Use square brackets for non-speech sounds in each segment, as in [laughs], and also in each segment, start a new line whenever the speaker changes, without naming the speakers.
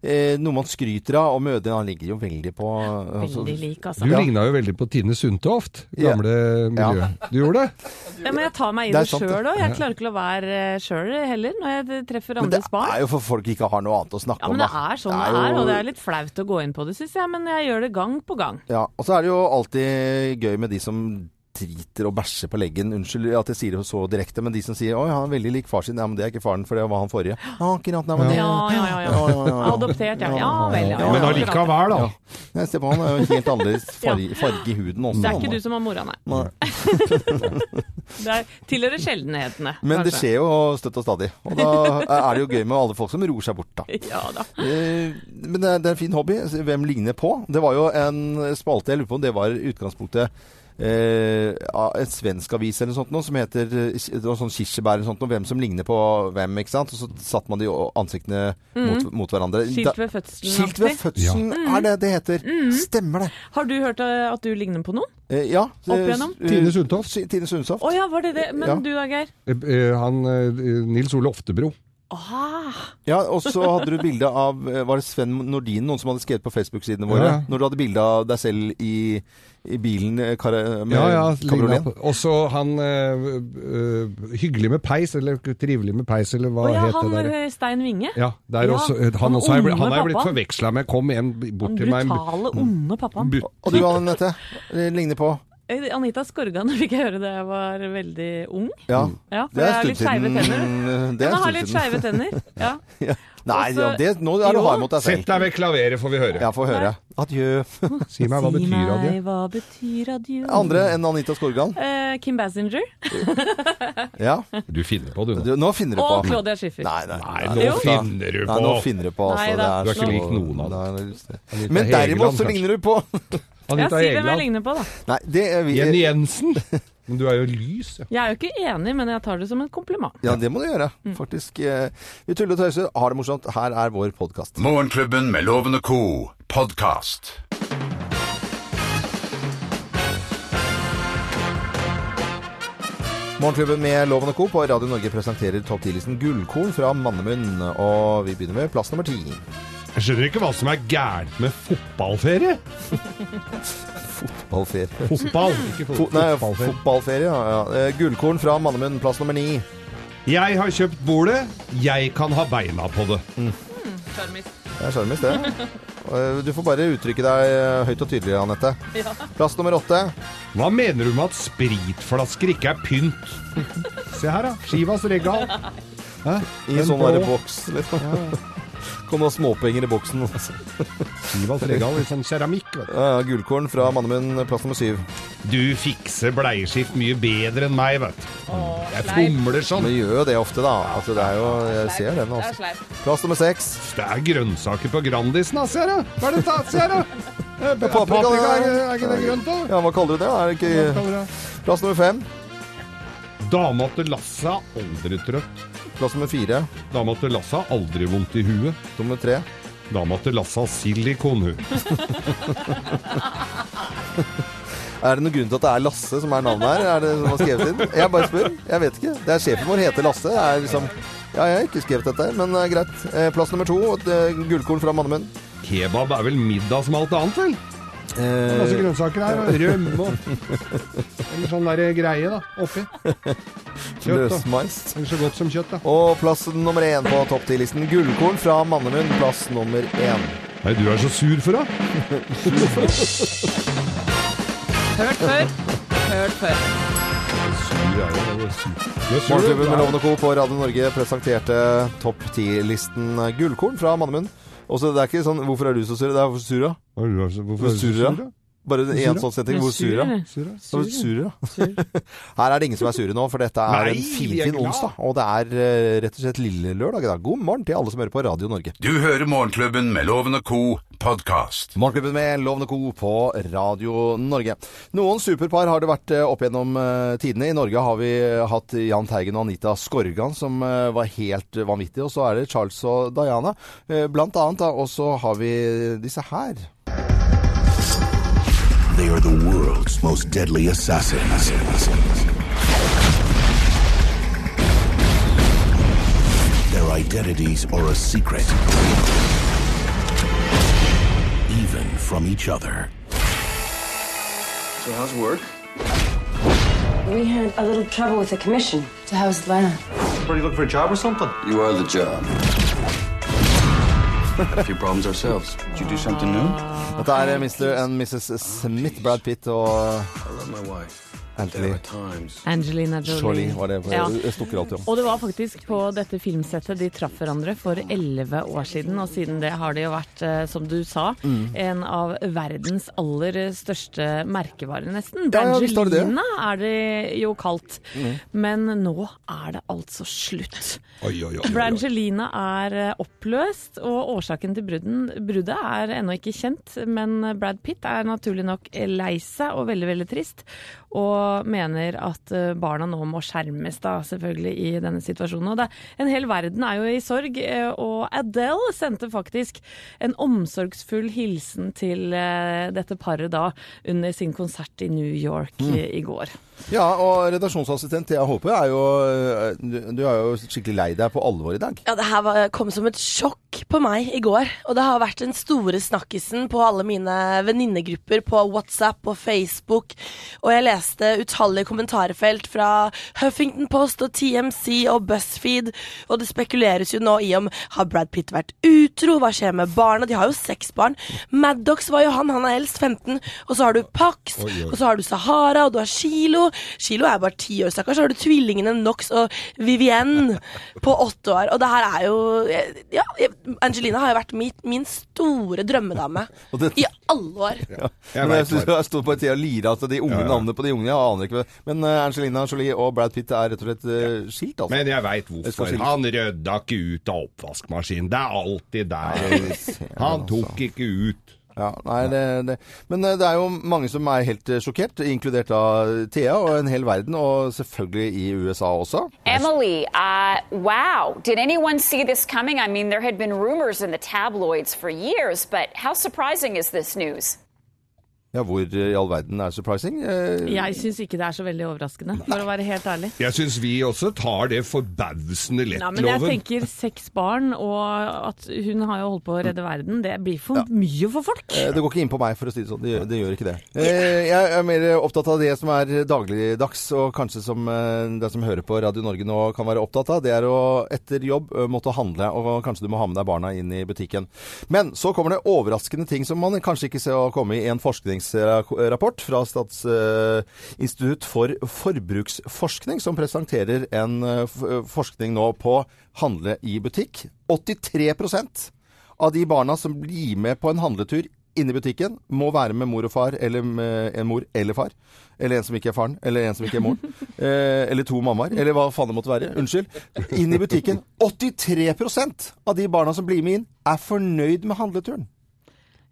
eh, noe man skryter av, og mødrene han ligger jo veldig på altså,
Veldig lik,
Du
altså.
Ja.
ligna jo veldig på Tine Sundtoft,
Ja.
gamle miljø. Du
[laughs]
gjorde det?
Ja, men jeg tar meg i
Det er
det
sant, det.
sjøl òg. Jeg klarer ikke å la være sjøl heller, når jeg treffer
Men det
andres barn.
er jo for folk ikke har noe annet å snakke
Ja,
om.
men det
da.
er sånn det er, og det er litt flaut å gå inn på det, syns jeg, men jeg gjør det gang på gang.
Ja, og så er det jo alltid gøy med de som driter og bæsjer på leggen. Unnskyld at jeg sier det så direkte, men de som sier 'oi, han er veldig lik far sin', ja, men det er ikke faren, for det var han forrige. Ja, akkurat, nei, men det...
Ja, ja, ja. ja.
ja, ja, ja.
Adoptert, ja. Ja vel, ja.
Men
ja. akkurat.
allikevel, da.
Jeg ser på han, er jo helt annerledes
[laughs]
farge, farge i huden også.
Det er ikke du som har mora, nei.
Nei.
Det er- tilhører sjeldenhetene.
Men det
kanskje.
skjer jo støtt og stadig, og da er det jo gøy med alle folk som ror seg bort, da.
[laughs] Ja da.
Eh, Men det er, det er en fin hobby. Altså, Hvem ligner på? Det var jo en spalte jeg lurer på om det var i utgangspunktet eh, av et svensk avis eller noe sånt noe, som heter eh, det var sånn kirsebær eller sånt noe. Hvem som ligner på hvem, ikke sant? Og så satte man de ansiktene mot, mot hverandre.
Mm. Skilt
Da-
ved fødselen. Mm.
Skilt ved
alltid.
fødselen er det det heter. Stemmer det.
Har du hørt eh, at du ligner på noen?
Eh, ja.
Opp igjennom?
Eh,
Tine Sundtoft.
Si- Tine Sundtoft.
Å ja, var det det? Men
Ja.
du da, Geir?
Eh, eh, Han, eh, Nils Ole Oftebro.
Ah,
Ja, og så hadde du bilde av eh, Var det Sven Nordin, noen som hadde skrevet på Facebook-sidene våre?
Ja.
Når du hadde bilde av deg selv i, i bilen eh, kar med
Ja, ja. lignet
kabrioleten?
på- Og så han eh, eh, Hyggelig med peis, eller Trivelig med peis, eller hva
å ja,
het
han
det der?
eh, Stein Winge.
Ja, der
Ja,
også, eh,
han
han, også er, bl-
onde
han er blitt
pappaen.
forveksla med Kom en b- bort
Den
til meg.
brutale, onde pappaen.
But-
Og du, Anette, det ligner på
Eh, Anita Skorgan [laughs] fikk jeg høre da jeg var veldig ung.
Ja,
Mm.
Ja, for jeg har litt skeive tenner.
Det
Hun
er
har
en
litt
stund siden.
skeive tenner. Ja.
[laughs] Ja. Nei,
Og så-
det, nå er du
Jo.
hard mot deg
Sett
selv.
deg ved klaveret, får vi høre.
Ja, få høre. Adjø.
Si meg hva
Si
betyr av det?
meg, hva betyr adjø?
Andre enn Anita Skorgan.
Eh, Kim Basinger
Ja.
Du finner på, du nå.
Du, nå finner du på.
og Claudia Schiffer.
Nei, nei,
Nei,
nei,
nå
Jo.
finner du
Nei,
på.
nå finner du på.
Nei
Altså.
da.
Det
Du er
ikke lik noen av
av dem.
Anita
Men
Hegeland,
derimot så
kanskje.
ligner du på [laughs]
Ja,
Anita
si hvem jeg
Hegeland.
ligner på, da.
Nei, det er vi
Jenny Jensen. [laughs] Men du er jo lys, ja.
Jeg er jo ikke enig, men jeg tar det som en kompliment.
Ja, det må du gjøre. Faktisk. eh, Vi tuller og tøyser, har det morsomt. Her er vår podkast.
Morgenklubben med Loven og co. podkast.
Morgenklubben med Loven og Co. på Radio Norge presenterer topp 10-listen Gullkorn fra mannemunn. Og vi begynner med plass nummer ti.
Jeg skjønner ikke hva som er gærent med fotballferie.
Fotballferie.
Fotball, [laughs] ikke fot
Fo nei,
fotballferie.
fotballferie, ja. ja. Eh, Gullkorn fra mannemunn, plass nummer ni.
Jeg har kjøpt bordet, jeg kan ha beina på det.
Det er sjarmis, det. Eh, Du får bare uttrykke deg eh, høyt og tydelig, Anette. Plass nummer åtte.
Hva mener du med at spritflasker ikke er pynt? [laughs] Se her, da. Skivas regal. Den
I sånn
blå.
derre boks, liksom. [laughs] Kom noen småpenger i boksen. altså.
Ivald Tredal i sånn keramikk. Vet du.
Ja, ja, Gullkorn fra Mannemunn, plass nummer syv.
du fikser bleieskift mye bedre enn meg, vet du. Jeg fomler sånn.
Vi gjør jo det ofte, da. Altså, det er jo, jeg ser den også. Plass nummer seks.
Det er grønnsaker på Grandisen, da, ser jeg. Hva er dette, ser jeg? Eh,
Paprika,
Paprika, er,
da.
er ikke det grønt, da?
Ja, hva kaller du det? Er
Hva
det ikke...
kaller jeg det?
Plass nummer fem.
Dama til Lasse er aldri trøtt.
Plass nummer fire.
Dama til Lasse har aldri vondt i huet.
Nummer tre.
Dama til Lasse har silikon, hun.
Er det noen grunn til at det er Lasse som er navnet her? Er det som har skrevet inn? Jeg bare spør. Jeg vet ikke. Det er Sjefen vår heter Lasse. Det er liksom... Ja, jeg har ikke skrevet dette, her, men eh, greit. Eh, Plass nummer to. et, eh, Gullkorn fra Mannemunn.
Kebab er vel middag som alt annet, vel? Masse
Eh,
grønnsaker her, og rømme og Eller sånn der greie, da. Oppi. Kjøtt, da.
Løsmeist.
Eller så godt som kjøtt, da.
Eh, Og plass nummer én på topp 10-listen. Gullkorn fra Mannemunn, plass nummer én.
Nei, du er så sur for det.
Hørt før. Hørt før.
Sur er jo det er sur. Du er sur.
Morgenklubben med
du.
Lovende Co. på Radio Norge presenterte topp 10-listen Gullkorn fra Mannemunn. Og så det er ikke sånn 'Hvorfor er du så sur?' Det er 'Hvorfor sur, da?'
Hva er du er så- Hvorfor
Hvor
er du så
sur, da?
sur, da?
Bare
Sur,
én
da?
sånn setning. 'Hvor sur, da?'
Sur, da?
Hvor Sur, da. [laughs] Her er det ingen som er sure nå, for dette er
Nei,
en
vi er
finfin
glad.
onsdag. Og det er eh, rett og slett lille lørdag i dag. God morgen til alle som hører på Radio Norge.
Du hører Morgenklubben med Loven og Co. podcast.
Morgenklubben med Lovende Co. på Radio Norge. Noen superpar har det vært eh, opp gjennom eh, tidene. I Norge har vi eh, hatt Jahn Teigen og Anita Skorgan, som eh, var helt eh, vanvittige. Og så er det Charles og Diana, eh, blant annet. da. Og så har vi disse her.
They are the world's most deadly assassins. Their identities are a secret, even from each other.
So how's work?
We had a little trouble with the commission.
So how's Lena?
Are you looking for a job or something? You are the job. a few problems ourselves. Did you do something new? I
Dette er eh, Mr. and Mrs. Smith, Brad Pitt og eh,
love my wife. There
Anthony
are times.
Angelina Jolie.
Jolie. Var det,
Ja.
jeg snakker alltid om.
Og det var faktisk på dette filmsettet de traff hverandre for elleve år siden. Og siden det har det jo vært, eh, som du sa,
Mm.
en av verdens aller største merkevarer, nesten.
Ja, ja, visst har det Mm. det.
Brangelina er det jo kalt. Men nå er det altså slutt.
Oi, oi, oi, oi, oi.
Brangelina er eh, oppløst, og årsaken til brudden, bruddet er ennå ikke kjent. Men Brad Pitt er naturlig nok lei seg og veldig, veldig trist. Og mener at eh, barna nå må skjermes, da, selvfølgelig, i denne situasjonen. Og det, en hel verden er jo i sorg, eh, og Adele sendte faktisk en omsorgsfull hilsen til eh, dette paret da, under sin konsert i New York i, i går.
Ja, og redaksjonsassistent Thea Håpe er jo eh, Du du er jo skikkelig lei deg på alvor i dag.
Ja, det her var, kom som et sjokk på meg i går. Og det har vært den store snakkisen på alle mine venninnegrupper på WhatsApp og Facebook. Og jeg leste utallige kommentarfelt fra Huffington Post og TMC og BuzzFeed. Og det spekuleres jo nå i om har Brad Pitt vært utro, hva skjer med barna? De har jo seks barn. Maddox var jo han, han er eldst, 15. Og så har du Pax, og så har du Sahara, og du har Kilo. Kilo er bare ti år, stakkars. Så har du tvillingene Nox og
[laughs]
Vivienne på åtte år. Og det her er jo Ja, Angelina har jo vært min, min store drømmedame
[laughs] Og det-
i alle år.
Jeg
Men jeg
vet
synes
hva.
jeg sto på et tid og lira at de unge
Ja, ja.
navnene på de unge, jeg aner ikke hva Men eh, Angelina Jolie og Brad Pitt er rett og slett eh, skilt, altså.
Men jeg veit
Jeg skal
hvorfor.
skille.
Han rydda ikke ut av oppvaskmaskinen. Det er alltid der. Han tok ikke ut.
Ja, nei, det, det. Men eh, det er jo mange som er helt eh, sjokkert, inkludert av Thea og en hel verden, og selvfølgelig i USA også.
Emily, uh, wow. Did anyone see this coming? I mean, there had been rumors in the tabloids for years, but how surprising is this news?
Ja, hvor eh, i all verden er surprising? Eh,
Jeg syns ikke det er så veldig overraskende, for å være helt ærlig.
Jeg syns vi også tar det forbausende lett,
Nei, men jeg
Loven.
tenker seks barn, og at hun har jo holdt på å redde verden. Det blir for mye for folk.
eh, Det går ikke inn på meg, for å si det sånn. Det gjør, det gjør ikke det. Eh, Jeg er mer opptatt av det som er dagligdags, og kanskje som eh, det som hører på Radio Norge nå kan være opptatt av. Det er å etter jobb eh, måtte handle, og kanskje du må ha med deg barna inn i butikken. Men så kommer det overraskende ting som man kanskje ikke ser å komme i en forskningsrapport fra Statsinstitutt for forbruksforskning, som presenterer en eh, f- forskning nå på handle i butikk. 83 av de barna som blir med på en handletur inne i butikken, må være med mor og far, eller med en mor eller far. Eller en som ikke er faren, eller en som ikke er moren. Eh, eller to mammaer, eller hva faen det måtte være. Unnskyld. Inn i butikken. 83 av de barna som blir med inn, er fornøyd med handleturen.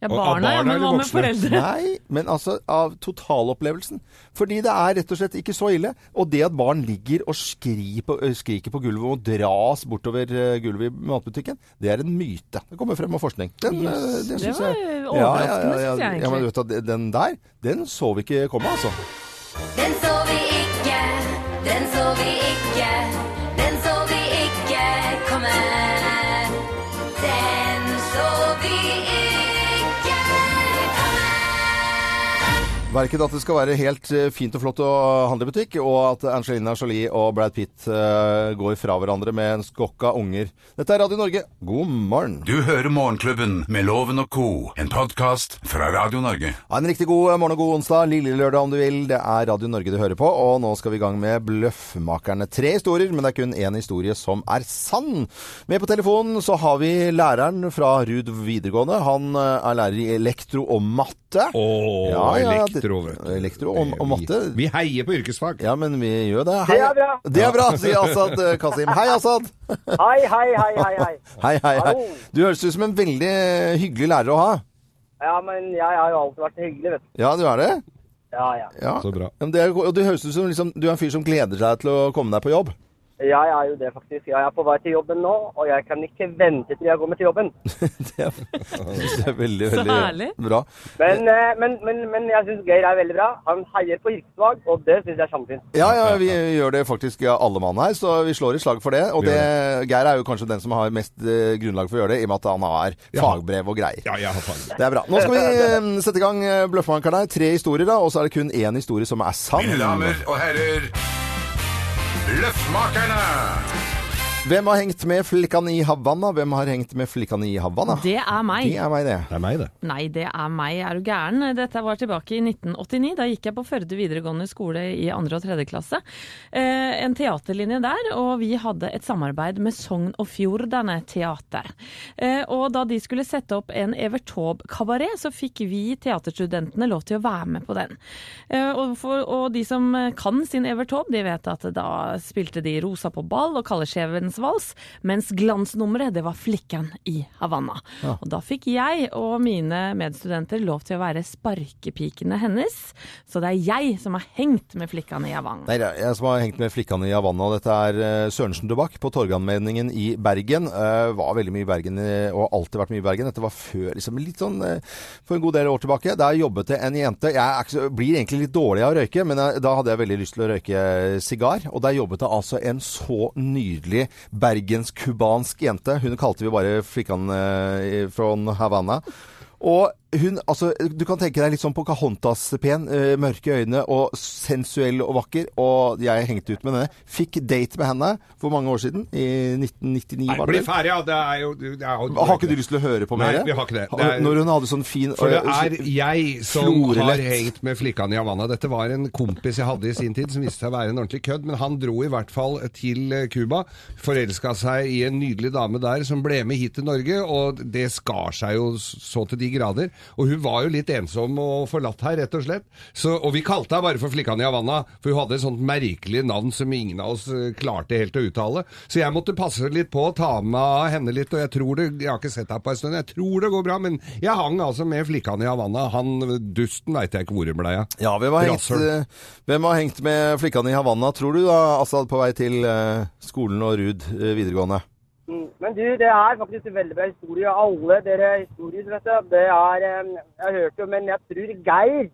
Ja,
Og- av
barna, ja,
barna
men
eller
hva med
voksne?
foreldre?
Nei, men altså av totalopplevelsen. Fordi det er rett og slett ikke så ille. Og det at barn ligger og skri på, ø, skriker på gulvet og dras bortover ø, gulvet i matbutikken, det er en myte. Det kommer frem av forskning. Den, ø, det syns
var
jeg
overraskende, synes jeg egentlig.
Ja, men vet du, hva, den der, den så vi ikke komme, altså.
Den så vi ikke, den så vi ikke, den så vi ikke komme. Den så vi ikke komme.
Verken at det skal være helt eh, fint og flott å handle i butikk, og at Angelina Jolie og Brad Pitt eh, går fra hverandre med en skokk av unger. Dette er Radio Norge. God morgen.
Du hører Morgenklubben med Loven og Co., en podkast fra Radio Norge.
Ja, en riktig god eh, morgen og god onsdag. Lille lørdag om du vil. Det er Radio Norge du hører på, og nå skal vi i gang med Bløffmakerne. Tre historier, men det er kun én historie som er sann. Med på telefonen så har vi læreren fra Ruud videregående. Han eh, er lærer i elektro og matte.
Å,
Ja, ja, det-
elektro, vet du.
elektro og- og matte.
Vi, vi heier på yrkesfag.
Ja, men vi gjør det. Hei. Det er bra! Det er bra, sier Assad eh, Kasim. Hei, Assad!
Hei, hei, hei, hei, hei.
[laughs] Hei, hei, hei.
Hallo.
Du høres ut som en veldig hyggelig lærer å ha.
Ja, men jeg har jo alltid vært hyggelig, vet du.
Ja, du er det?
Ja, ja.
Ja.
Så bra.
Ja, men Det er, og du høres ut som liksom, du er en fyr som gleder seg til å komme deg på jobb. [laughs]
Ja, jeg er jo det, faktisk. Jeg er på vei til jobben nå, og jeg kan ikke vente til jeg kommer til jobben.
Det er, synes jeg er veldig,
Så
veldig
herlig.
bra.
Men, eh, men, men, men jeg syns Geir er veldig bra. Han heier på yrkesfag, og det syns jeg er kjempefint.
Ja, ja, vi gjør det faktisk ja, alle mann her, så vi slår et slag for det. Og det, Geir er jo kanskje den som har mest eh, grunnlag for å gjøre det, i og med at han har fagbrev og greier.
Ja, jeg har fagbrev.
Det er bra. Nå skal vi eh, sette i gang eh, Bløffmakerne. Tre historier, da, og så er det kun én historie som er sann.
Mine damer og herrer, Løffmakerne!
Hvem har hengt med flikkene i Havanna? Hvem har hengt med flikkene i Havanna?
Det er meg.
Det er meg, det.
Det er meg, det.
Nei, det er meg. Er du gæren? Dette var tilbake i 1989. Da gikk jeg på Førde videregående skole i andre og tredje klasse. Eh, en teaterlinje der, og vi hadde et samarbeid med Sogn og Fjordane Teater. Eh, og da de skulle sette opp en Evert Taube-kabaret, så fikk vi teaterstudentene lov til å være med på den. Eh, og, for, og de som eh, kan sin Evert Taube, de vet at da spilte de Rosa på ball og Kalleskjevens vals, mens glansnummeret, det var Flikken i Havanna. Og da fikk jeg og mine medstudenter lov til å være sparkepikene hennes, så det er jeg som har hengt med Flikkan i Havanna.
Nei, det er jeg som har hengt med flikkene i Havanna. Dette er eh, Sørensen Dubakk på Torganmenningen i Bergen. Eh, Var veldig mye i Bergen, eh, og har alltid vært mye i Bergen. Dette var før, liksom litt sånn eh, for en god del år tilbake. Der jobbet det en jente. Jeg er ikke, så- blir egentlig litt dårlig av å røyke, men jeg, da hadde jeg veldig lyst til å røyke eh, sigar. Og der jobbet det altså en så nydelig bergenskubansk jente. Hun kalte vi bare flikkene eh, fra Havanna. Og hun, altså, du kan tenke deg litt sånn Pocahontas-pen, eh, mørke øyne og sensuell og vakker, og jeg hengte ut med henne. Fikk date med henne for mange år siden, i 1999
Nei,
var
bli
det. vel?
ferdig, ja. Det er jo, det er jo
Har ikke du lyst til å høre på mer?
Nei, vi har ikke det. Det
Har-
er-
Når hun hadde sånn fin
For det
øh,
er jeg som
Florelett.
har hengt med flikkene i Havanna. Dette var en kompis jeg hadde i sin tid som viste seg å være en ordentlig kødd, men han dro i hvert fall til eh, Cuba. Forelska seg i en nydelig dame der som ble med hit til Norge, og det skar seg jo så til de grader. Og hun var jo litt ensom og forlatt her, rett og slett. Så, og vi kalte henne bare for flikkene i Havanna, for hun hadde et sånt merkelig navn som ingen av oss eh, klarte helt å uttale. Så jeg måtte passe litt på å ta med av henne litt, og jeg tror det Jeg har ikke sett henne på en stund, jeg tror det går bra, men jeg hang altså med flikkene i Havanna. Han dusten veit jeg ikke hvor hun blei av.
ja, hvem har, hengt,
Rasshøl.
eh, hvem har hengt med flikkene i Havanna, tror du da, Assad, på vei til eh, skolen og Ruud eh, videregående?
Mm. Men du, det er faktisk en veldig bra historie. Alle dere historier, vet du. Det er eh, Jeg hørte jo, men jeg tror Geir.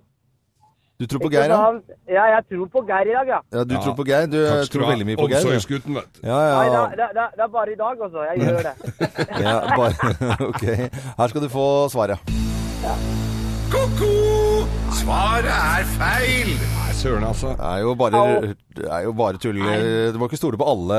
Du tror på
ikke
Geir, ja?
sant? Ja, jeg tror på Geir i dag, ja.
ja du
Ja.
tror på Geir? Du eh, tror veldig mye på Geir. du.
Omsorgsgutten, vet du.
Ja,
Nei,
ja.
det, er- det, er- det er bare i dag, altså. Jeg gjør det.
ja [laughs] bare, ok. Her skal du få svaret.
Ko-ko! Svaret er feil!
Nei, søren altså.
Det er jo bare, det er jo bare tull. Du må ikke stole på alle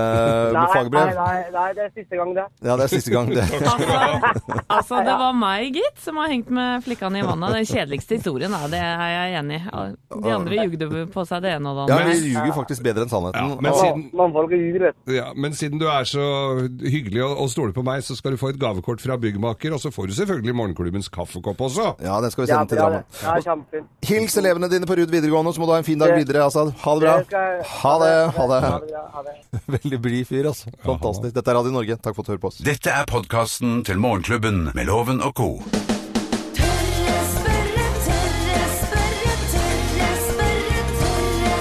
nei,
[laughs] fagbrev.
nei, nei, det er siste gang, det.
Ja, det er siste
[laughs]
gang, det.
[laughs] Altså, det var meg, gitt, som har hengt med flikkene i vannet. Den kjedeligste historien, da, det er jeg enig i. De andre jugde på seg det ene og det
Ja,
andre.
vi ljuger faktisk bedre enn sannheten.
men
Og-
siden-
Mannfolk ljuger, vet du.
Ja, men siden du er så hyggelig og, og stoler på meg, så skal du få et gavekort fra byggmaker, og så får du selvfølgelig morgenklubbens kaffekopp også.
Ja, den skal vi
Ja,
sende til
bra, det.
Drammen.
Ja, kjempefint.
Hils elevene dine på Ruud videregående, så må du ha en fin dag videre, Asaad. Ha det bra.
Det skal jeg-
Ha det. Ha
Ha
det.
det bra, ha det.
Veldig blid fyr, altså. Fantastisk. Dette er Radio Norge. Takk for at du hører på oss.
Dette er podkasten til Morgenklubben med Loven og co.
Tørre spørre, tørre spørre, tørre spørre, tørre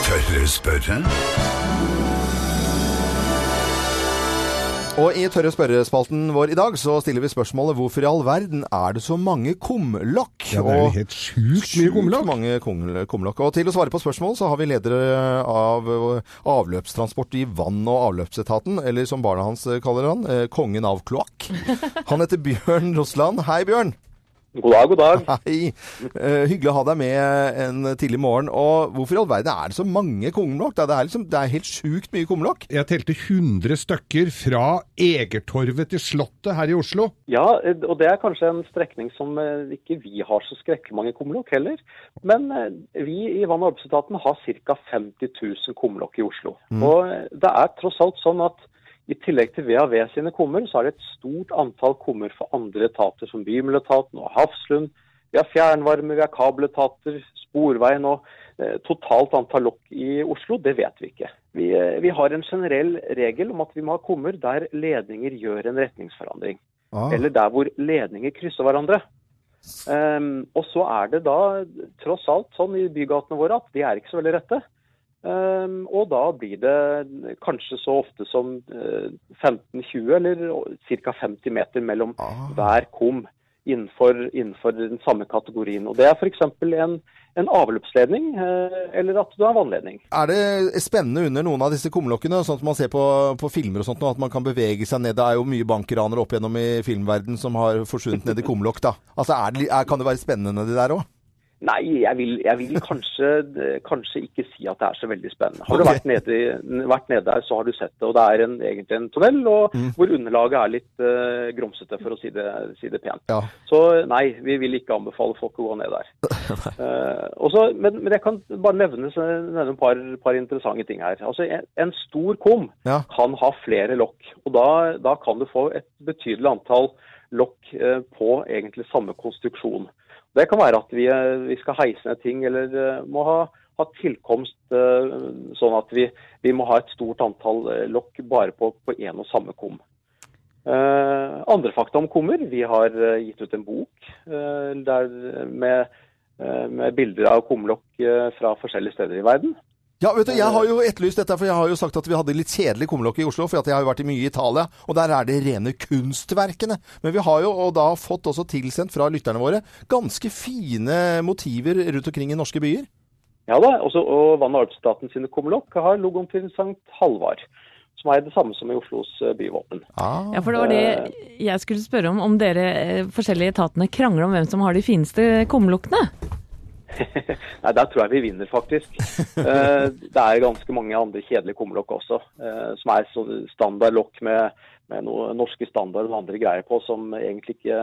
spørre.
Tørre spørre?
Og i Tørre spørrespalten vår i dag så stiller vi spørsmålet hvorfor i all verden er det så mange kumlokk?
Ja, det er jo
Og-
helt sjukt mye kumlokk.
Mange kuml- kumlokk. Og til å svare på spørsmål så har vi ledere av eh, avløpstransport i vann- og avløpsetaten, eller som barna hans eh, kaller han, eh, kongen av
[laughs]
kloakk. Han heter Bjørn Rosland. Hei, Bjørn.
God dag, god dag.
Hei. Eh, hyggelig å ha deg med en tidlig morgen. Og hvorfor i all verden er det så mange kumlokk? da? Det er, liksom, det er helt sjukt mye kumlokk.
Jeg telte 100 stykker fra Egertorvet til Slottet her i Oslo.
Ja, eh, og det er kanskje en strekning som eh, ikke vi har så skrekkelig mange kumlokk heller. Men eh, vi i vann- og avløpsetaten har ca. 50 000 kumlokk i Oslo.
Mm.
Og eh, det er tross alt sånn at i tillegg til VAV sine kummer, så er det et stort antall kummer for andre etater, som Bymiljøetaten og Hafslund. Vi har fjernvarme, vi har kabeletater, Sporveien og eh, totalt antall lokk i Oslo, det vet vi ikke. Vi, eh, vi har en generell regel om at vi må ha kummer der ledninger gjør en retningsforandring.
Ah.
Ah.
Eller der hvor ledninger krysser hverandre. Ehm, og så er det da tross alt sånn i bygatene våre at de er ikke så veldig rette. Ehm, og da blir det kanskje så ofte som eh, 15-20 eller ca. 50 meter mellom hver kum innenfor, innenfor den samme kategorien. Og det er f.eks. En, en avløpsledning eh, eller at du har vannledning.
Er det spennende under noen av disse kumlokkene, sånn at man ser på, på filmer og sånt, nå, at man kan bevege seg ned? Det er jo mye bankranere opp gjennom i filmverden som har forsvunnet ned i kumlokk, da. Altså, er det, li- er, kan det være spennende nedi der òg?
Nei, jeg vil, jeg vil kanskje, [laughs] kanskje ikke si at det er så veldig spennende. Har du vært nede, i- vært nede der, så har du sett det. Og det er en, egentlig en tunnel og, hvor underlaget er litt eh, grumsete, for å si det, si det pent.
Ja.
Så nei, vi vil ikke anbefale folk å gå ned der. Eh, og så- men, men jeg kan bare nevne, nevne et par, par interessante ting her. Altså, en, en stor kum
Ja.
kan ha flere lokk. Og da, da kan du få et betydelig antall lokk eh, på egentlig samme konstruksjon. Det kan være at vi, eh, vi skal heise ned ting, eller eh, må ha, ha tilkomst eh, sånn at vi, vi må ha et stort antall eh, lokk bare på én og samme kum. Eh, andre fakta om kummer. Vi har eh, gitt ut en bok eh, der med, eh, med bilder av kumlokk eh, fra forskjellige steder i verden.
Ja, vet du, jeg har jo etterlyst dette, for jeg har jo sagt at vi hadde litt kjedelig kumlokk i Oslo, for at jeg har jo vært i mye i Italia, og der er det rene kunstverkene. Men vi har jo og da fått også tilsendt fra lytterne våre ganske fine motiver rundt omkring i norske byer.
Ja da, også, og Vann- og avløpsstaten sine kumlokk har logoen til Sankt Halvard, som er det samme som i Oslos eh, byvåpen.
Ja, for det var det jeg skulle spørre om, om dere eh, forskjellige etatene krangler om hvem som har de fineste kumlokkene.
Nei, der tror jeg vi vinner,
[laughs]
faktisk. Eh, det er ganske mange andre kjedelige kumlokk også, eh, som er sånn standardlokk med, med noe norske standard og andre greier på, som egentlig ikke,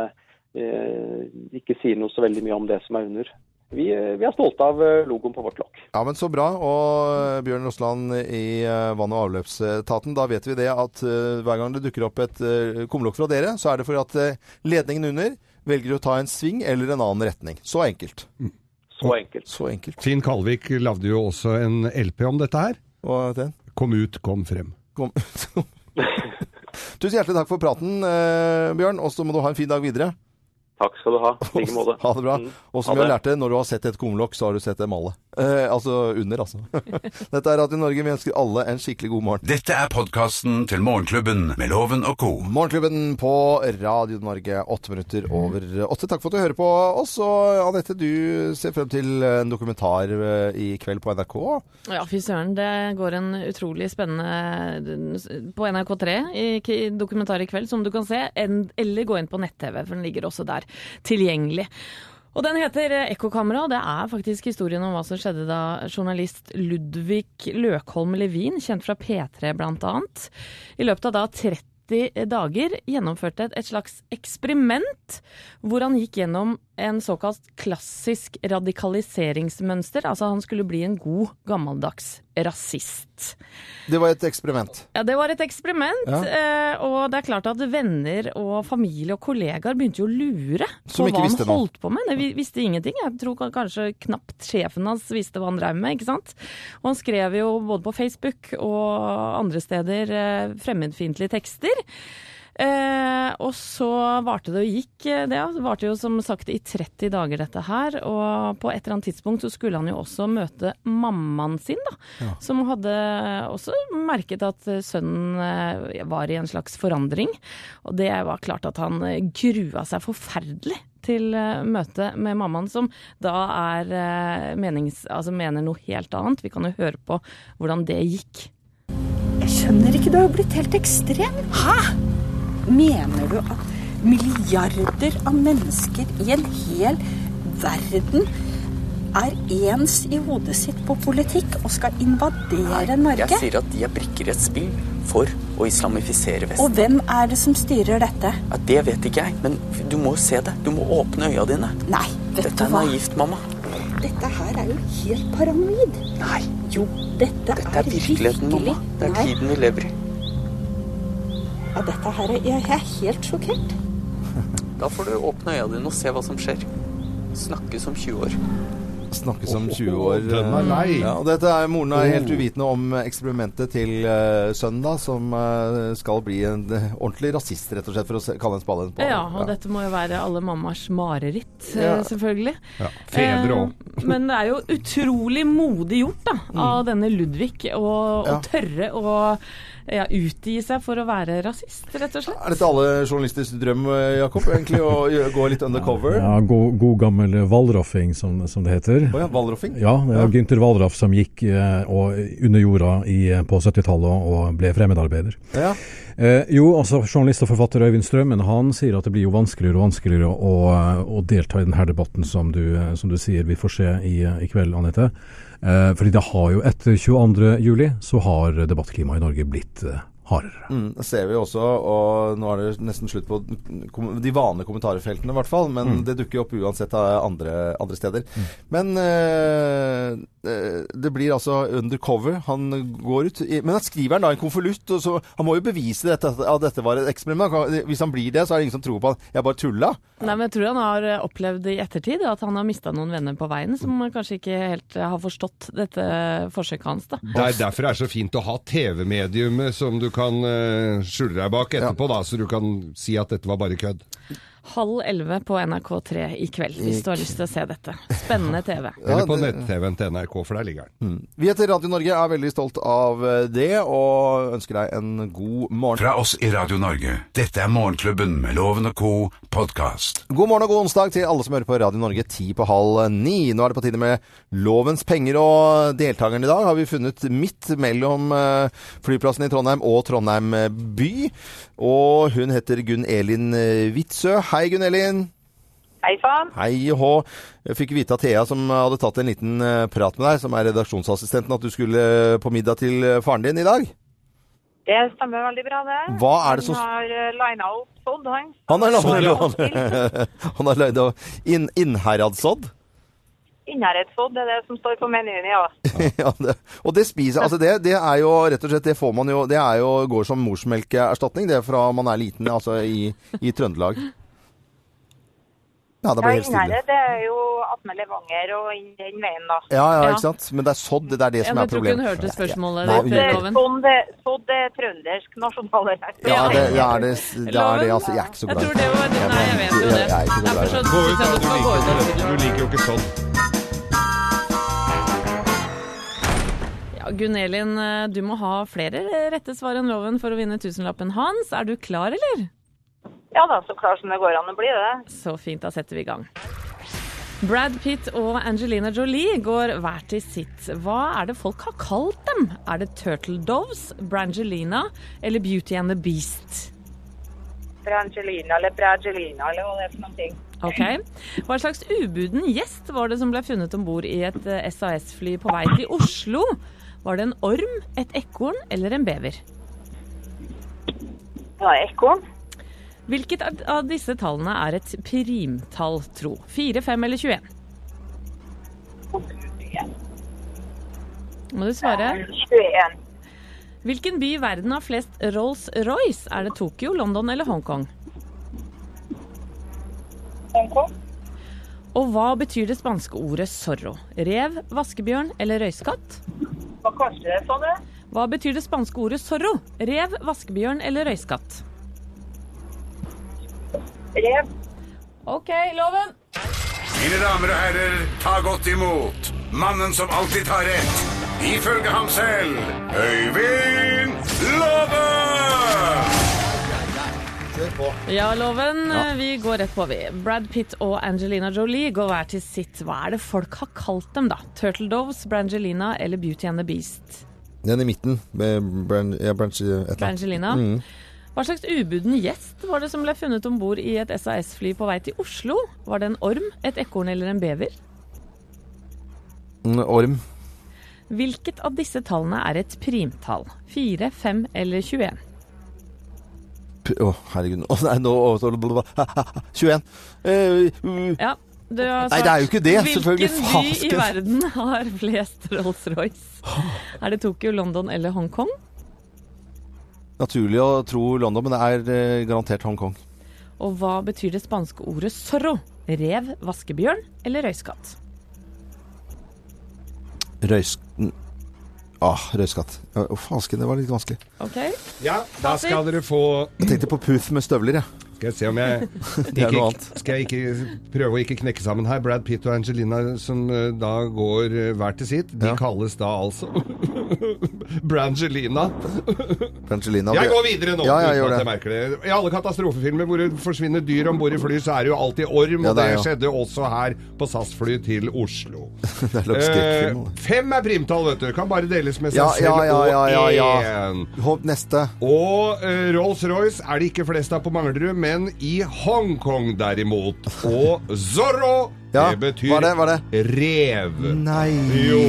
eh, ikke sier noe så veldig mye om det som er under. Vi, eh, vi er stolte av eh, logoen på vårt lokk.
Ja, men så bra. Og eh, Bjørn Rosland i eh, vann- og avløpsetaten, da vet vi det at eh, hver gang det dukker opp et eh, kumlokk fra dere, så er det fordi at eh, ledningen under velger å ta en sving eller en annen retning. Så enkelt.
Så enkelt.
Så enkelt.
Finn Kalvik lagde jo også en LP om dette her.
Og den?
Kom ut, kom frem.
Kom. [laughs] Tusen hjertelig takk for praten, eh, Bjørn. Og så må du ha en fin dag videre.
Takk skal du ha. I
[laughs]
like måte.
Ha det bra.
Mm. Ha
Og som vi har
det.
lært det, når du har sett et kumlokk, så har du sett det malet. Eh, altså under, altså. [laughs] Dette er Radio Norge. Vi ønsker alle en skikkelig god morgen.
Dette er podkasten til Morgenklubben med Loven og co.
Morgenklubben på Radio Norge, åtte minutter over åtte. Takk for at du hører på oss. Og Anette, du ser frem til en dokumentar eh, i kveld på NRK.
Ja, fy søren. Det går en utrolig spennende på NRK3 i k- dokumentar i kveld, som du kan se. en- Eller gå inn på nett-TV, for den ligger også der tilgjengelig. Og den heter eh, Ekkokamera, og det er faktisk historien om hva som skjedde da journalist Ludvig Løkholm Levin, kjent fra P3 blant annet, i løpet av da 30 dager gjennomførte et, et slags eksperiment hvor han gikk gjennom en såkalt klassisk radikaliseringsmønster. Altså han skulle bli en god, gammeldags rasist.
Det var et eksperiment.
Ja, det var et eksperiment,
Ja.
eh, og det er klart at venner og familie og kollegaer begynte jo å lure
Som
på
ikke
hva han
visste noe.
holdt på med. De vi- visste ingenting. Jeg tror ka- kanskje knapt sjefen hans visste hva han drev med, ikke sant. Og han skrev jo både på Facebook og andre steder eh, fremmedfiendtlige tekster. Eh, og så varte det og gikk eh, det. ja. Det varte jo som sagt i 30 dager dette her. Og på et eller annet tidspunkt så skulle han jo også møte mammaen sin, da. Som hadde også merket at eh, sønnen eh, var i en slags forandring. Og det var klart at han eh, grua seg forferdelig til eh, møte med mammaen, som da er eh, menings... Altså mener noe helt annet. Vi kan jo høre på hvordan det gikk.
Jeg skjønner ikke, du har jo blitt helt ekstrem. Hæ? Mener du at milliarder av mennesker i en hel verden er ens i hodet sitt på politikk og skal invadere
Jeg
Norge?
sier at de er brikker i et spill for å islamifisere
Og
Vesten.
hvem er det som styrer dette?
Ja, det vet ikke jeg, men du må jo se det. Du må åpne øya dine.
Nei, vet
Dette
du
er
hva?
naivt, mamma.
Dette her er jo helt paranoid. Nei. Jo, dette,
Det er virkeligheten, mamma. Det er
Nei.
tiden vi lever i.
Ja, dette her er, jeg er helt
[laughs]
sjokkert.
Da får du åpne øya dine og se hva som skjer. Snakke som 20 år.
Snakke som 20 år.
den er lei.
Ja, og dette er Moren er helt
Oh.
uvitende om eksperimentet til eh, sønnen, da, som eh, skal bli en eh, ordentlig rasist, rett og slett, for å se- kalle en spade en spade.
Ja, og dette må jo være alle mammaers mareritt, eh,
Ja.
selvfølgelig.
Ja, fedre også.
Eh, Men det er jo utrolig modig gjort da, av denne Ludvig å å
Ja.
tørre å ja, utgi seg for å være rasist, rett og slett.
Er dette alle journalisters drøm, eh, Jakob, egentlig, å gjø- gå litt undercover?
Ja, god, god gammel Valroffing, som, som det heter.
Å ja, Valroffing?
Ja, det er
Ja.
Gynter Valroff som gikk eh, og, under jorda i, eh, på 70-tallet og ble fremmedarbeider.
Ja.
Eh, jo, altså Journalist og forfatter Øyvind Strømmen han sier at det blir jo vanskeligere og vanskeligere å, eh, å delta i denne debatten, som du, eh, som du sier vi får se i, i kveld, Anette. Eh, fordi det har jo etter 22.07 så har debattklimaet i Norge blitt eh, hardere.
Mm, det ser vi jo også, og nå er det nesten slutt på kom- de vanlige kommentarfeltene i hvert fall, men
Mm.
det dukker jo opp uansett av andre, andre steder. Men eh, eh, det blir altså undercover. Han går ut, i, men han skriver han da en konvolutt, og så han må jo bevise dette, at dette var et eksperiment. Han kan- Hvis han blir det, så er det ingen som tror på han. Jeg bare tulla.
Nei, men jeg tror han har eh, opplevd i ettertid at han har mista noen venner på veien som kanskje ikke helt eh, har forstått dette forsøket hans. da.
Det er derfor det er så fint å ha TV-mediumet som du kan eh, skjule deg bak etterpå, da, så du kan si at dette var bare kødd.
Halv elleve på NRK3 i kveld, hvis du har lyst til å se dette. Spennende TV.
Eller på nett-TV-en til NRK, for der ligger den.
Vi heter Radio Norge, er veldig stolt av eh, det, og ønsker deg en god morgen.
Fra oss i Radio Norge. Dette er Morgenklubben med Loven og co. podkast.
God morgen og god onsdag til alle som hører på Radio Norge ti på halv ni. Nå er det på tide med lovens penger, og deltakerne i dag har vi funnet midt mellom eh, flyplassen i Trondheim og Trondheim eh, by. Og hun heter Gunn Elin eh, Witzøe. Hei, Gunn Elin.
Hei sann.
Hei og hå. Jeg fikk vite av Thea, som hadde tatt en liten eh, prat med deg, som er redaksjonsassistenten, at du skulle på middag til eh, faren din i dag.
Det stemmer veldig bra, det.
Hva er det som-
Han har eh, lina opp sådd, han.
Han har
Så-
[laughs] Han har løyd og inn, innheradsodd.
Innherredsodd det er det som står på menyen, ja.
[laughs] ja, det, og det spiser Altså, det, det er jo rett og slett Det får man jo Det er jo, går som morsmelkerstatning, det, fra man er liten, altså i, i Trøndelag. Ja, det ble
Ja,
helt stille.
Innherred det er jo attmed Levanger og inn den veien, da.
Ja, ja, ikke sant? Men det er sådd, det er det
Ja,
som
men
er
jeg tror ikke
problemet.
hun hørte
spørsmålet
Nei,
ditt,
hun gjør ikke det.
Loven.
Sånn det, sånn det er trøndersk nasjonalrett.
Ja, det, det er det, det er det, altså. Jeg er ikke så glad i det. Nei, jeg vet jo det. Jeg er ikke så glad i det.
Gå ut, da. Du liker, jo ikke det. du liker jo ikke sånn.
Ja, Gunn Elin, eh, du må ha flere rette svar enn loven for å vinne tusenlappen hans. Er du klar, eller?
Ja da, så klart som det går an å bli det.
Så fint, da setter vi i gang. Brad Pitt og Angelina Jolie går hver til sitt. Hva er det folk har kalt dem? Er det Turtle Doves, Brangelina eller Beauty and the Beast?
Brangelina eller Brangelina eller hva det er for noen ting.
Ok. Hva slags ubuden gjest var det som ble funnet om bord i et eh, SAS-fly på vei til Oslo? Var det en orm, et ekorn eller en bever?
Det var ekorn.
Hvilket av- av disse tallene er et primtall, tro? 4, 5 eller 21? Må du svare?
21.
Hvilken by i verden har flest Rolls-Royce? Er det Tokyo, London eller Hongkong?
Hongkong.
Og hva betyr det spanske ordet zorro? Rev, vaskebjørn eller røyskatt?
Hva kalte det sånn, for det?
Hva betyr det spanske ordet zorro? Rev, vaskebjørn eller røyskatt?
Rev.
OK, loven.
Mine damer og herrer, ta godt imot mannen som alltid tar rett, ifølge ham selv, Øyvind Låve!
Ja, Loven. Vi går rett på, vi. Brad Pitt og Angelina Jolie går hver til sitt. Hva er det folk har kalt dem, da? Turtle Doves, Brangelina eller Beauty and the Beast?
Den i midten. med Bran, ja, branch, et eller annet.
Brangelina.
Mm.
Hva slags ubuden gjest var det som ble funnet om bord i et SAS-fly på vei til Oslo? Var det en orm, et ekorn eller en bever?
Mm, Orm.
Hvilket av disse tallene er et primtall? 4, 5 eller 21?
P å, herregud. Å, nei, nå [laughs] å, så- [laughs] blablabla. 21. Eh, uh,
Ja, du har svart.
Nei, det er jo ikke det, selvfølgelig.
Hvilken by
Fasken.
i verden har flest
[gasps]
Rolls-Royce? Er det Tokyo, London eller Hongkong?
Naturlig å tro London, men det er eh, garantert Hongkong.
Og hva betyr det spanske ordet zorro? Rev, vaskebjørn eller røyskatt?
Røys... n- Ah, røyskatt. Å, fasken, det var litt vanskelig.
OK?
Ja, da skal dere få
Jeg tenkte på Puth med støvler, jeg.
Skal jeg se om jeg
[laughs] Det er
ikke-
noe annet.
Skal jeg ikke prøve å ikke knekke sammen her? Brad Pitt og Angelina som eh, da går eh, hver til sitt, de kalles da altså [laughs] Brangelina.
Brangelina.
Jeg går videre nå.
Ja, ja,
uten
gjør
at
det.
jeg merker det. I alle katastrofefilmer hvor det forsvinner dyr om bord i fly, så er det jo alltid orm.
Ja,
og
det
det,
er jo.
skjedde også her på SAS-fly til Oslo.
[laughs] Det er lagt skrekkfilm.
Eh, fem er primtall, vet du. Kan bare deles med seg
Ja, ja,
selv
ja, ja, ja,
og
ja.
én.
Hopp neste.
Og eh, Rolls-Royce er det ikke flest av på Manglerud, men i Hongkong derimot. Og Zorro,
[laughs] Ja,
det betyr
hva er det, hva er
rev.
Nei.
Jo,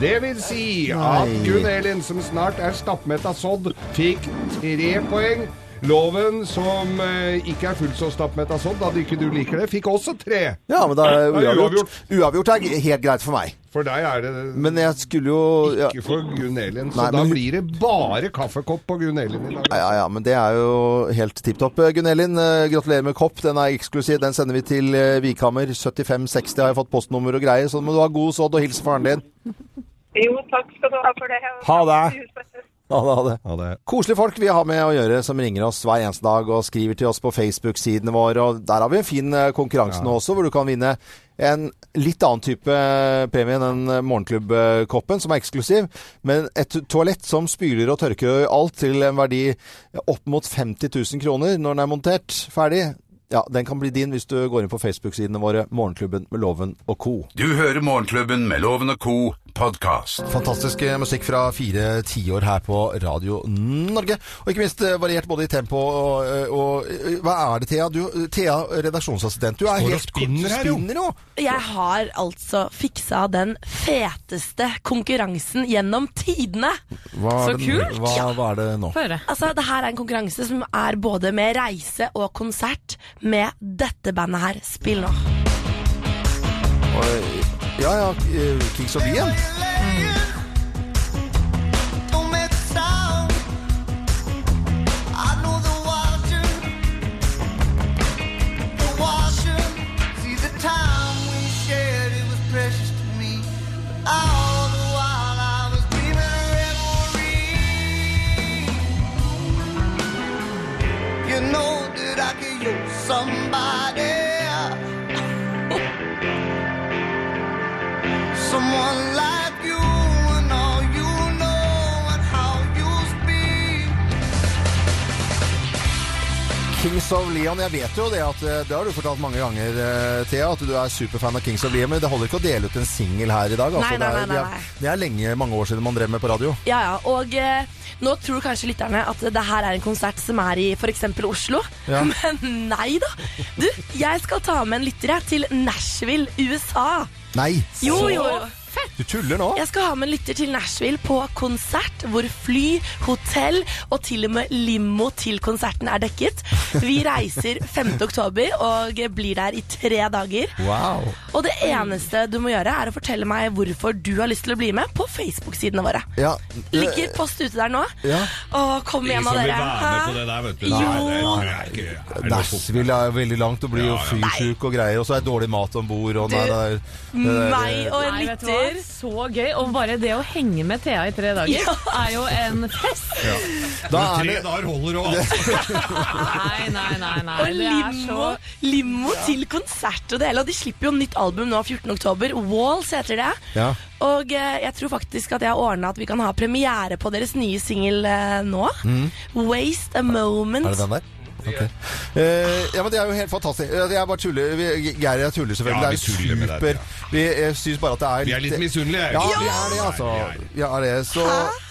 det vil si at
Nei.
Gunn Elin, som snart er stappmett av sodd, fikk tre poeng. Loven, som eh, ikke er fullt så stappmett av sodd, da du ikke du liker det, fikk også tre.
Ja, men da er
Da
det
er det
uavgjort. Uavgjort er g- helt greit for meg.
For deg er det
Men jeg skulle jo ja.
ikke for Gunn Elin, så
Nei,
da
men-
blir det bare kaffekopp på Gunn Elin i dag.
Ja, ja, ja, men det er jo helt tipp topp. Gunn Elin, eh, gratulerer med kopp. Den er eksklusiv. Den sender vi til eh, Vikhammer. 7560 har jeg fått postnummer og greier, så må du ha god sodd og hils faren din.
Jo, takk skal du ha for det.
Ha det. Ha det, ha det. Koselige folk vi har med å gjøre, som ringer oss hver eneste dag og skriver til oss på Facebook-sidene våre. Og der har vi en fin eh, konkurranse nå også, hvor du kan vinne en litt annen type premie enn den eh, morgenklubbkoppen, som er eksklusiv. Men et toalett som spyler og tørker og alt, til en verdi opp mot 50 000 kroner når den er montert ferdig. Ja, den kan bli din hvis du går inn på Facebook-sidene våre, Morgenklubben med Loven og co.
Du hører Morgenklubben med Loven og Co. podkast.
Fantastisk musikk fra fire tiår her på Radio Norge. Og ikke minst eh, variert både i tempo og, og, eh, Hva er det, Thea? Du, eh, Thea, redaksjonsassistent. Du er
Står og
helt
spinner her, jo.
spinner, jo!
Jeg har altså fiksa den feteste konkurransen gjennom tidene.
Hva er
Så
det-
kult!
Hva, hva er det nå?
Altså, det her er en konkurranse som er både med reise og konsert med dette bandet her. Spill nå.
Oi, Ja ja, eh, Kings of Wien.
You know that I could use Somebody [laughs] Someone like you and all you know and how you speak.
Kings of Leon, jeg vet jo det at eh, Det har du fortalt mange ganger, eh, Thea, at du er superfan av Kings of Leon. Men det holder ikke å dele ut en singel her i dag.
Nei,
altså.
nei, nei,
det, er,
nei, nei.
det er lenge, mange år siden man drev med på radio.
Ja, ja, og eh, nå tror kanskje lytterne at det her er en konsert som er i for eksempel Oslo.
Ja.
[laughs] Men nei da! Du, jeg skal ta med en lytter jeg til Nashville, USA.
Nei!
Jo,
Så-
jo.
Du tuller nå?
Jeg skal ha med en lytter til Nashville på konsert, hvor fly, hotell og til og med limo til konserten er dekket. Vi reiser 5. oktober og blir der i tre dager.
Wow.
Og det eneste du må gjøre, er å fortelle meg hvorfor du har lyst til å bli med på Facebook-sidene våre.
Ja.
Ligger post ute der nå.
Ja.
Åh, kom igjen da, dere. Hæ?
det der, vet
du. Nei, Jo. det tror
Nashville er veldig langt og blir jo fysjuk og greier. Og så er det dårlig mat om bord og
Du,
nei, det er- det er-
Nei, vet du hva? Så gøy. Og bare det å henge med Thea i tre dager
Ja.
er jo en fest.
Ja. Da er det
dager holder òg,
Nei, nei, nei. nei.
og
Det er
limo,
så
limo til konsert og det hele. Og de slipper jo nytt album nå 14. oktober. Walls heter det.
Ja.
Og eh, jeg tror faktisk at jeg har ordna at vi kan ha premiere på deres nye singel eh, nå.
Mm.
Waste a moment.
Er det den der?
Mm.
Ok. Eh, ja, men Det er jo helt fantastisk. Eh, Jeg bare tuller. Vi- Geir, jeg tuller selvfølgelig.
Ja,
det
vi
er
tuller
jo
med
super.
deg,
Vi eh, syns bare at det er
Vi er litt misunnelige,
Ja,
egentlig.
vi er det, altså. Ja, er det. Så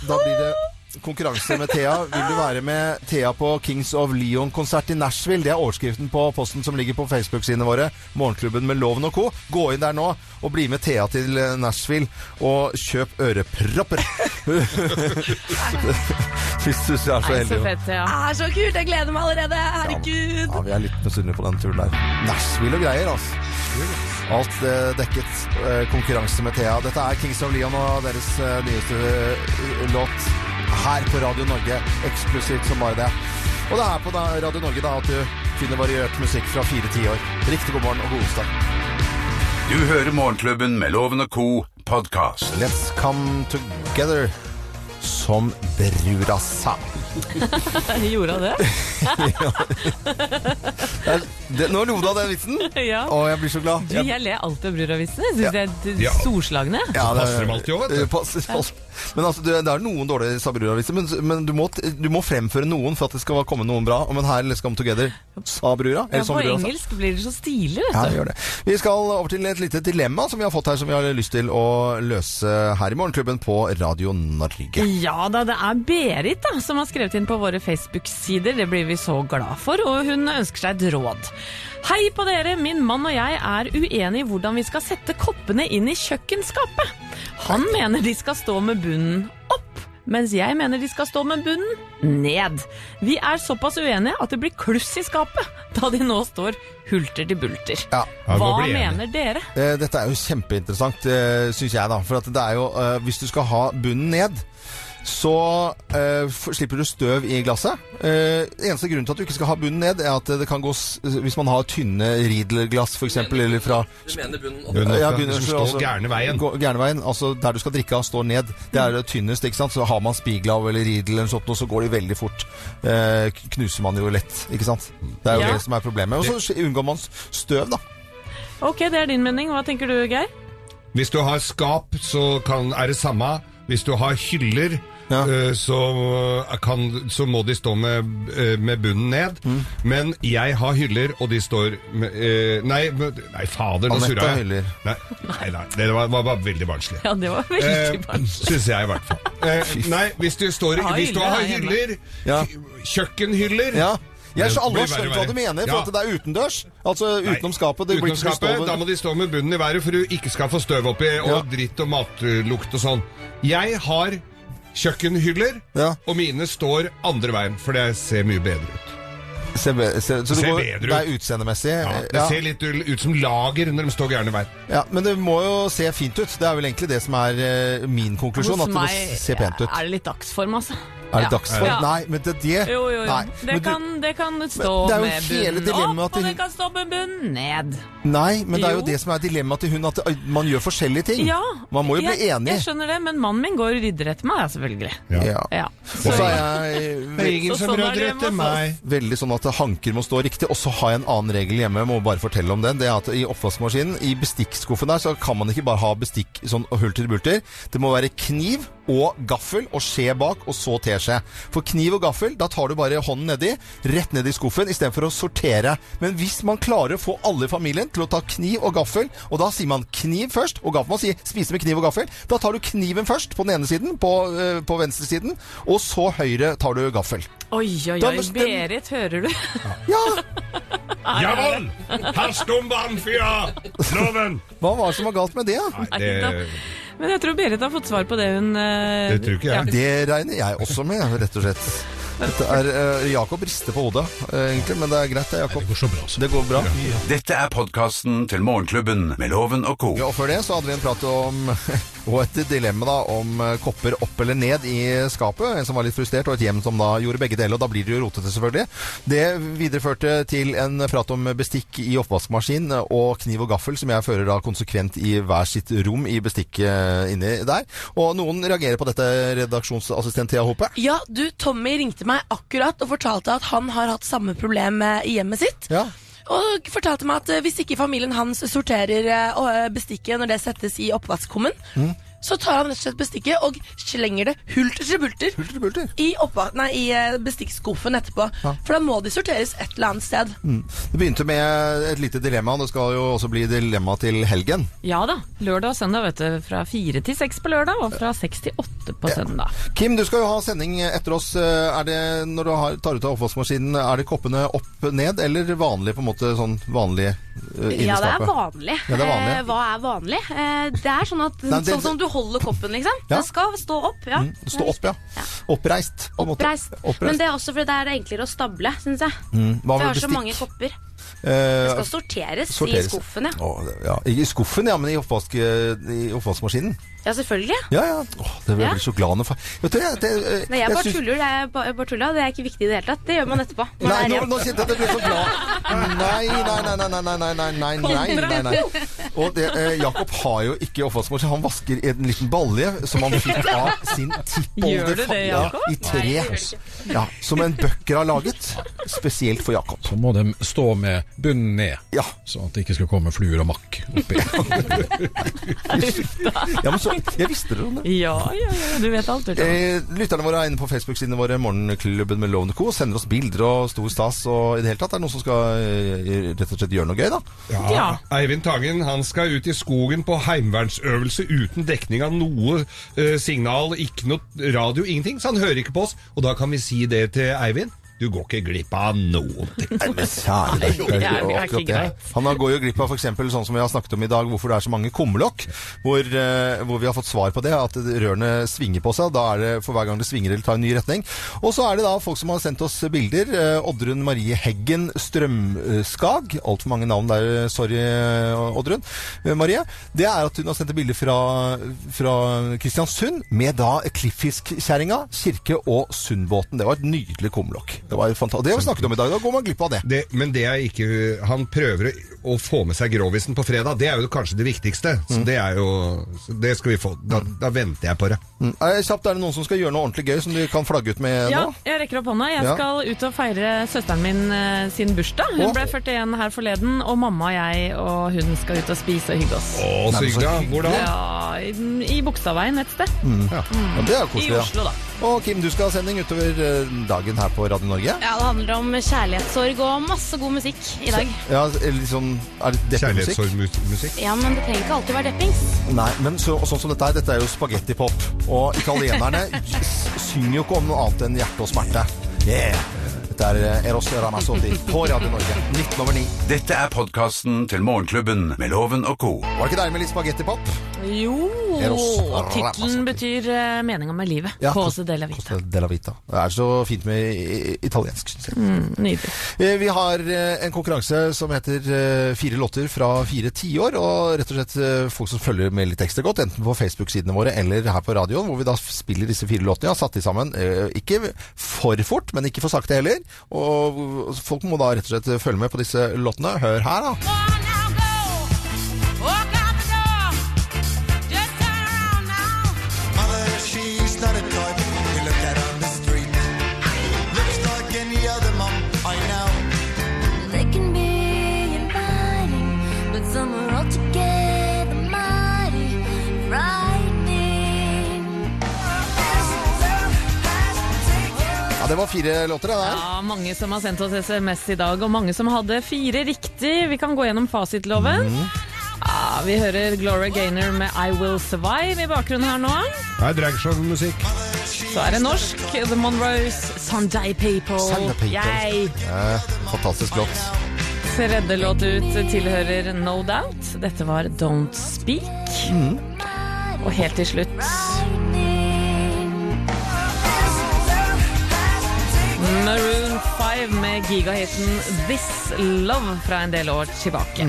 da blir det konkurranse med Thea. Vil du være med Thea på Kings of Leon-konsert i Nashville? Det er overskriften på posten som ligger på Facebook-sidene våre. Morgenklubben med Loven og co. Gå inn der nå og bli med Thea til eh, Nashville. Og kjøp ørepropper! [laughs] Hvis du er så heldig.
ja. Er så kult! Jeg gleder meg allerede. Herregud.
Ja, vi er litt misunnelige på den turen der. Nashville og greier, altså. Alt eh, dekket. Eh, konkurranse med Thea. Dette er Kings of Leon og deres eh, nyeste eh, låt her på Radio Norge. Eksklusivt som bare det. Og det er her på da, Radio Norge da at du finner variert musikk fra fire tiår. Riktig god morgen og god onsdag.
Du hører Morgenklubben med Loven og co. podkast.
Let's come together som brurasa.
Gjorde han det?
Det, det, nå lo du av den vitsen?
Ja.
Å, jeg blir så glad.
Du, jeg ler alltid av Bruravisene. Jeg syns
Ja.
det er d-
Ja.
storslagne.
passer dem alltid også, vet du.
Eh, passer dem alltid. Men altså, det, det er noen dårlige sabruaviser, men, men du, må, t- du må fremføre noen for at det skal komme noen bra. Men her Let's Come Together sa brura.
Ja,
eller som
på
brura sa.
engelsk blir det så stilig, vet du.
Ja, det gjør det. Vi skal over til et lite dilemma som vi har fått her, som vi har lyst til å løse her i Morgenklubben på Radio Norge.
Ja da, det er Berit da, som har skrevet inn på våre Facebook-sider. Det blir vi så glad for, og hun ønsker seg et råd. Hei på dere! Min mann og jeg er uenige i hvordan vi skal sette koppene inn i kjøkkenskapet. Han mener de skal stå med bunnen opp, mens jeg mener de skal stå med bunnen ned. Vi er såpass uenige at det blir kluss i skapet, da de nå står hulter til bulter.
Ja, vi må
Hva
bli enige.
mener dere?
Eh, Dette er jo kjempeinteressant, eh, syns jeg, da. For at det er jo eh, Hvis du skal ha bunnen ned, så eh, f- slipper du støv i glasset. Eh, eneste grunnen til at du ikke skal ha bunnen ned, er at det kan gå s Hvis man har tynne Riedler-glass, f.eks., eller fra
Du mener bunnen opp?
Bunnen opp,
ja,
ja.
bunnen,
Det som
så
står
altså-
gærne veien.
gå- Gærne veien. Altså der du skal drikke av, står ned. Det er det tynnest, ikke sant. Så har man Spiglav eller Riedel eller noe sånt, og så går de veldig fort. Eh, k- knuser man jo lett, ikke sant. Det er jo
Ja.
det som er problemet. Og så unngår man s- støv, da.
Ok, det er din mening. Hva tenker du, Geir?
Hvis du har skap, så kan, er det samme. Hvis du har hyller, eh, så, kan, så må de stå med, eh, med bunnen ned.
Mm.
Men jeg har hyller, og de står med, eh, Nei, men- nei fader, nå
Anette
surra
har
jeg.
hyller.
Nei, nei, nei, det var, var, var veldig barnslig.
Ja, det var veldig
Eh, Syns jeg, i hvert fall. Eh, nei, hvis du, står,
Jeg har
hvis du
hyller
har
her hjemme.
hyller, kj- kjøkkenhyller
Ja. Jeg
Det
så alle
blir
har skjønt
verre og
hva du
verre.
mener, for
Ja.
at det er utendørs. Altså utenom skapet. Det blir
Utenom
ikke så
skapet, da må de stå med bunnen i været for du ikke skal få støv oppi og dritt og matlukt og sånn. Jeg har kjøkkenhyller, og mine står andre veien, for det ser mye bedre ut.
Ser, så du
ser
går-
bedre ut.
det er utseendemessig.
Ja, det
Ja.
ser litt ul- ut som lager når de står gærne veien.
sånn
Ja, men det må jo se fint ut. Det er vel egentlig det som er eh, min konklusjon. At det må se pent ut.
er det litt dagsform, altså.
Er det dagsform?
Ja.
Nei, men det, det
Jo, jo, jo.
Nei,
det,
men du-
kan, det kan stå
det er jo
med
hele
bunnen
dilemmaet
opp,
til
og det
hun-
kan stå med bunnen ned.
Nei, men det er jo
Jo.
det som er dilemmaet til hun, at det- man gjør forskjellige ting.
Ja,
Man må jo bli
jeg,
enig.
Jeg skjønner det, men mannen min går og rydder etter meg, ja, selvfølgelig.
Ja.
Ja.
Og så er jeg
Det er ingen Så som sånn er det rydder hjemme etter hos meg.
Veldig sånn at hanker må stå riktig. Og så har jeg en annen regel hjemme, jeg må bare fortelle om den. Det er at i oppvaskmaskinen, i bestikkskuffen der, så kan man ikke bare ha bestikk sånn hulter til bulter. Det må være kniv, og gaffel og skje bak, og så teskje. For kniv og gaffel, da tar du bare hånden nedi, rett ned i skuffen, istedenfor å sortere. Men hvis man klarer å få alle i familien til å ta kniv og gaffel, og da sier man kniv først, og gaffel man sier spise med kniv og gaffel, da tar du kniven først på den ene siden, på, eh, på venstresiden, og så høyre tar du gaffel.
Oi, oi,
Da
oi.
bestem-
Berit, hører du? [laughs]
Jawohl! Herr Stumbahnfyrer! Loven!
Hva var det som var galt med det?
Nei, det-
Men jeg tror Berit har fått svar på det hun eh, ja.
Det regner jeg også med, rett og slett. Dette er, eh, Jakob rister på hodet, eh, egentlig, men det er greit, det, Jakob. Det går så
altså.
bra. Det går bra.
Dette er podkasten til Morgenklubben med Loven og co.
Ja, og før det så hadde vi en prat om [laughs] og et dilemma da, om eh, kopper opp eller ned i skapet. En som var litt frustrert, og et hjem som da gjorde begge deler. Og da blir det jo rotete, selvfølgelig. Det videreførte til en prat om bestikk i oppvaskmaskin og kniv og gaffel, som jeg fører da konsekvent i hver sitt rom i bestikket eh, inni der. Og noen reagerer på dette, redaksjonsassistent Thea Hope.
Ja, du, Tommy ringte meg akkurat og fortalte at han har hatt samme problem eh, i hjemmet sitt. Og fortalte meg at eh, hvis ikke familien hans sorterer eh, og, eh, bestikket når det settes i oppvaskkummen,
Mm.
så tar han rett og slett bestikket og slenger det hulter til bulter, i, oppva- nei, i eh, bestikkskuffen etterpå. For da må de sorteres et eller annet sted.
Mm. Det begynte med et lite dilemma, og det skal jo også bli dilemma til helgen.
ja da. Lørdag og søndag, vet du. Fra fire til seks på lørdag, og fra seks til åtte på søndag.
Kim, du skal jo ha sending etter oss. Eh, Er det, når du har, tar ut av oppvaskmaskinen, er det koppene opp ned, eller vanlig på en måte sånn vanlig uh,
Ja, det er vanlig.
Ja, det er vanlig.
Eh, hva er vanlig? Eh, det er sånn at
Nei, det-
Sånn som du holder koppen, liksom.
Ja.
Den skal stå opp. Ja.
Mm, Stå opp, ja. Oppreist. på en måte.
Oppreist. Men det er også fordi det er enklere å stable, syns jeg.
Mm, hva
For
med
jeg har så
bestikk?
mange kopper.
Eh,
Det skal sorteres, i skuffen, ja.
Å, det- ja. I skuffen, ja, men i, oppvask, eh, i oppvaskmaskinen.
Ja, selvfølgelig.
Ja, ja. Åh, det blir
Ja.
så glad for. Vet du, jeg, det, eh,
Nei, jeg bare
syns-
tuller. Det er, ba- jeg bare tuller, det er ikke viktig i det hele tatt. Det gjør man etterpå. Man
Nei,
er
nå,
hjemme.
nå kjente jeg at jeg ble så glad. Nei, nei, nei, nei, nei, nei, nei, nei, nei, nei, nei. Og det, eh, Jakob har jo ikke oppvaskmaskin. Han vasker en liten balje som han fikk av sin
Gjør du
tippoldefar
det,
ja,
Jakob?
i tre. Ja, som en bøkker har laget, spesielt for Jakob.
Så må de stå med bunnen ned, sånn at det ikke skal komme fluer og makk oppi.
Ja, men så, jeg visste det, Ronny.
Ja, ja, ja, du vet alt. du.
Eh, lytterne våre er inne på Facebook-sidene våre, Morgenklubben med Lovende Co. Sender oss bilder og stor stas. Og i det hele tatt er det noen som skal eh, rett og slett gjøre noe gøy, da.
Ja. Eivind Tangen han skal ut i skogen på heimevernsøvelse uten dekning av noe eh, signal, ikke noe radio, ingenting. Så han hører ikke på oss. Og da kan vi si det til Eivind. Du går ikke glipp av noen ting.
Nei, det er jo akkurat det. Han har- går jo glipp av f.eks. sånn som vi har snakket om i dag, hvorfor det er så mange kumlokk. Hvor, eh, hvor vi har fått svar på det, at rørene svinger på seg. Da er det for hver gang det svinger eller tar en ny retning. Og så er det da folk som har sendt oss bilder. Eh, Oddrun Marie Heggen Strømskag. Altfor mange navn der, eh, sorry eh, Oddrun. Eh, Marie. Det er at hun har sendt et bilde fra, fra Kristiansund med da Klippfiskkjerringa, kirke og Sundbåten. Det var et nydelig kumlokk. Det var fantastisk. Det har vi snakket om i dag. Da går man glipp av det.
Det, men det er ikke Han prøver å få med seg grovisen på fredag. Det er jo kanskje det viktigste. Så det er jo så Det skal vi få. Da, da venter jeg på det.
Mm. Eh, Kjapt, er det noen som skal gjøre noe ordentlig gøy som du kan flagge ut med
Ja,
nå?
jeg rekker opp hånda. Jeg
Ja.
skal ut og feire søsteren min eh, sin bursdag. Hun
Å.
ble 41 her forleden, og mamma og jeg og hun skal ut og spise og hygge oss.
Å, så hyggelig. da. Hvor da?
Ja, i- I Bogstadveien et sted.
Mm. Ja. det er jo
I
koselig.
Oslo, da.
Og Kim, du skal ha sending utover eh, dagen her på Radio Norge.
Ja, det handler om kjærlighetssorg og masse god musikk i dag.
Ja, eller liksom, er det deppemusikk? Kjærlighetssorgmusikk?
Ja, men det trenger ikke alltid være deppings.
Nei, men så, og sånn som dette her, dette er jo spagettipop. Og italienerne
[laughs]
s- synger jo ikke om noe annet enn hjerte og smerte. Yeah! Dette er eh, Eros Ramazzotti på Radio Norge, 19 over 9.
Dette er podkasten til Morgenklubben med Loven og co.
Var det ikke deilig med litt spagettipop?
Jo,
Eros
og tittelen betyr eh, 'Meninga med livet'.
Ja,
Cose de la vita.
Della Vita. Det er så fint med i- i- italiensk, syns jeg.
Mm, nydelig.
Eh, Vi har eh, en konkurranse som heter eh, Fire låter fra fire tiår. Og rett og slett eh, folk som følger med litt ekstra godt, enten på Facebook-sidene våre eller her på radioen, hvor vi da spiller disse fire låtene. Jeg har satt de sammen. eh, Ikke for fort, men ikke for sakte heller. Og folk må da rett og slett følge med på disse låtene. Hør her, da.
Mother, she's not a type you look at on the street. Looks like any other mom I know.
They can be inviting, but some are altogether mighty frightening.
det var fire låter, det der.
Ja, mange som har sendt oss SMS i dag, og mange som hadde fire riktig. Vi kan gå gjennom fasitloven. Ja, vi hører Gloria Gaynor med I Will Survive i bakgrunnen her nå.
Det er dragshow-musikk.
Så er det norsk. The Monroes, Sunday People.
Sunday People.
Yay.
Eh, fantastisk låt.
Tredje låt ut tilhører No Doubt. Dette var Don't Speak. Og helt til slutt Maroon 5 med gigahiten This Love fra en del år tilbake.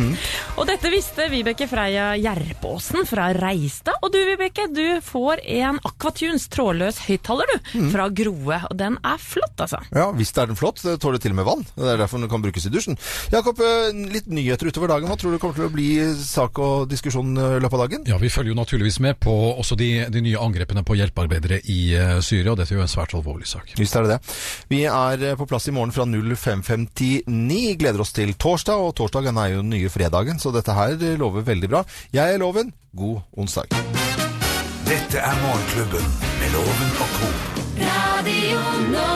Og dette visste Vibeke Freia Gjerpåsen fra Reistad. Og du Vibeke, du får en Aquatunes trådløs høyttaler, du. Fra Groe. Og den er flott, altså.
Ja, visst er den flott. Det tåler til og med vann. Det er derfor den kan brukes i dusjen. Jakob, eh, litt nyheter utover dagen. Hva tror du kommer til å bli sak og diskusjon eh, i løpet av dagen?
Ja, Vi følger jo naturligvis med på også de, de nye angrepene på hjelpearbeidere i eh, Syria. og Dette er jo en svært alvorlig sak.
Visst er det det. Vi er eh, på plass i morgen fra 05.59. Gleder oss til torsdag, og torsdagen er jo den nye fredagen, så dette her eh, lover veldig bra. Jeg er Loven. God onsdag.
Dette er Morgenklubben med Loven og co.
Radio Nova.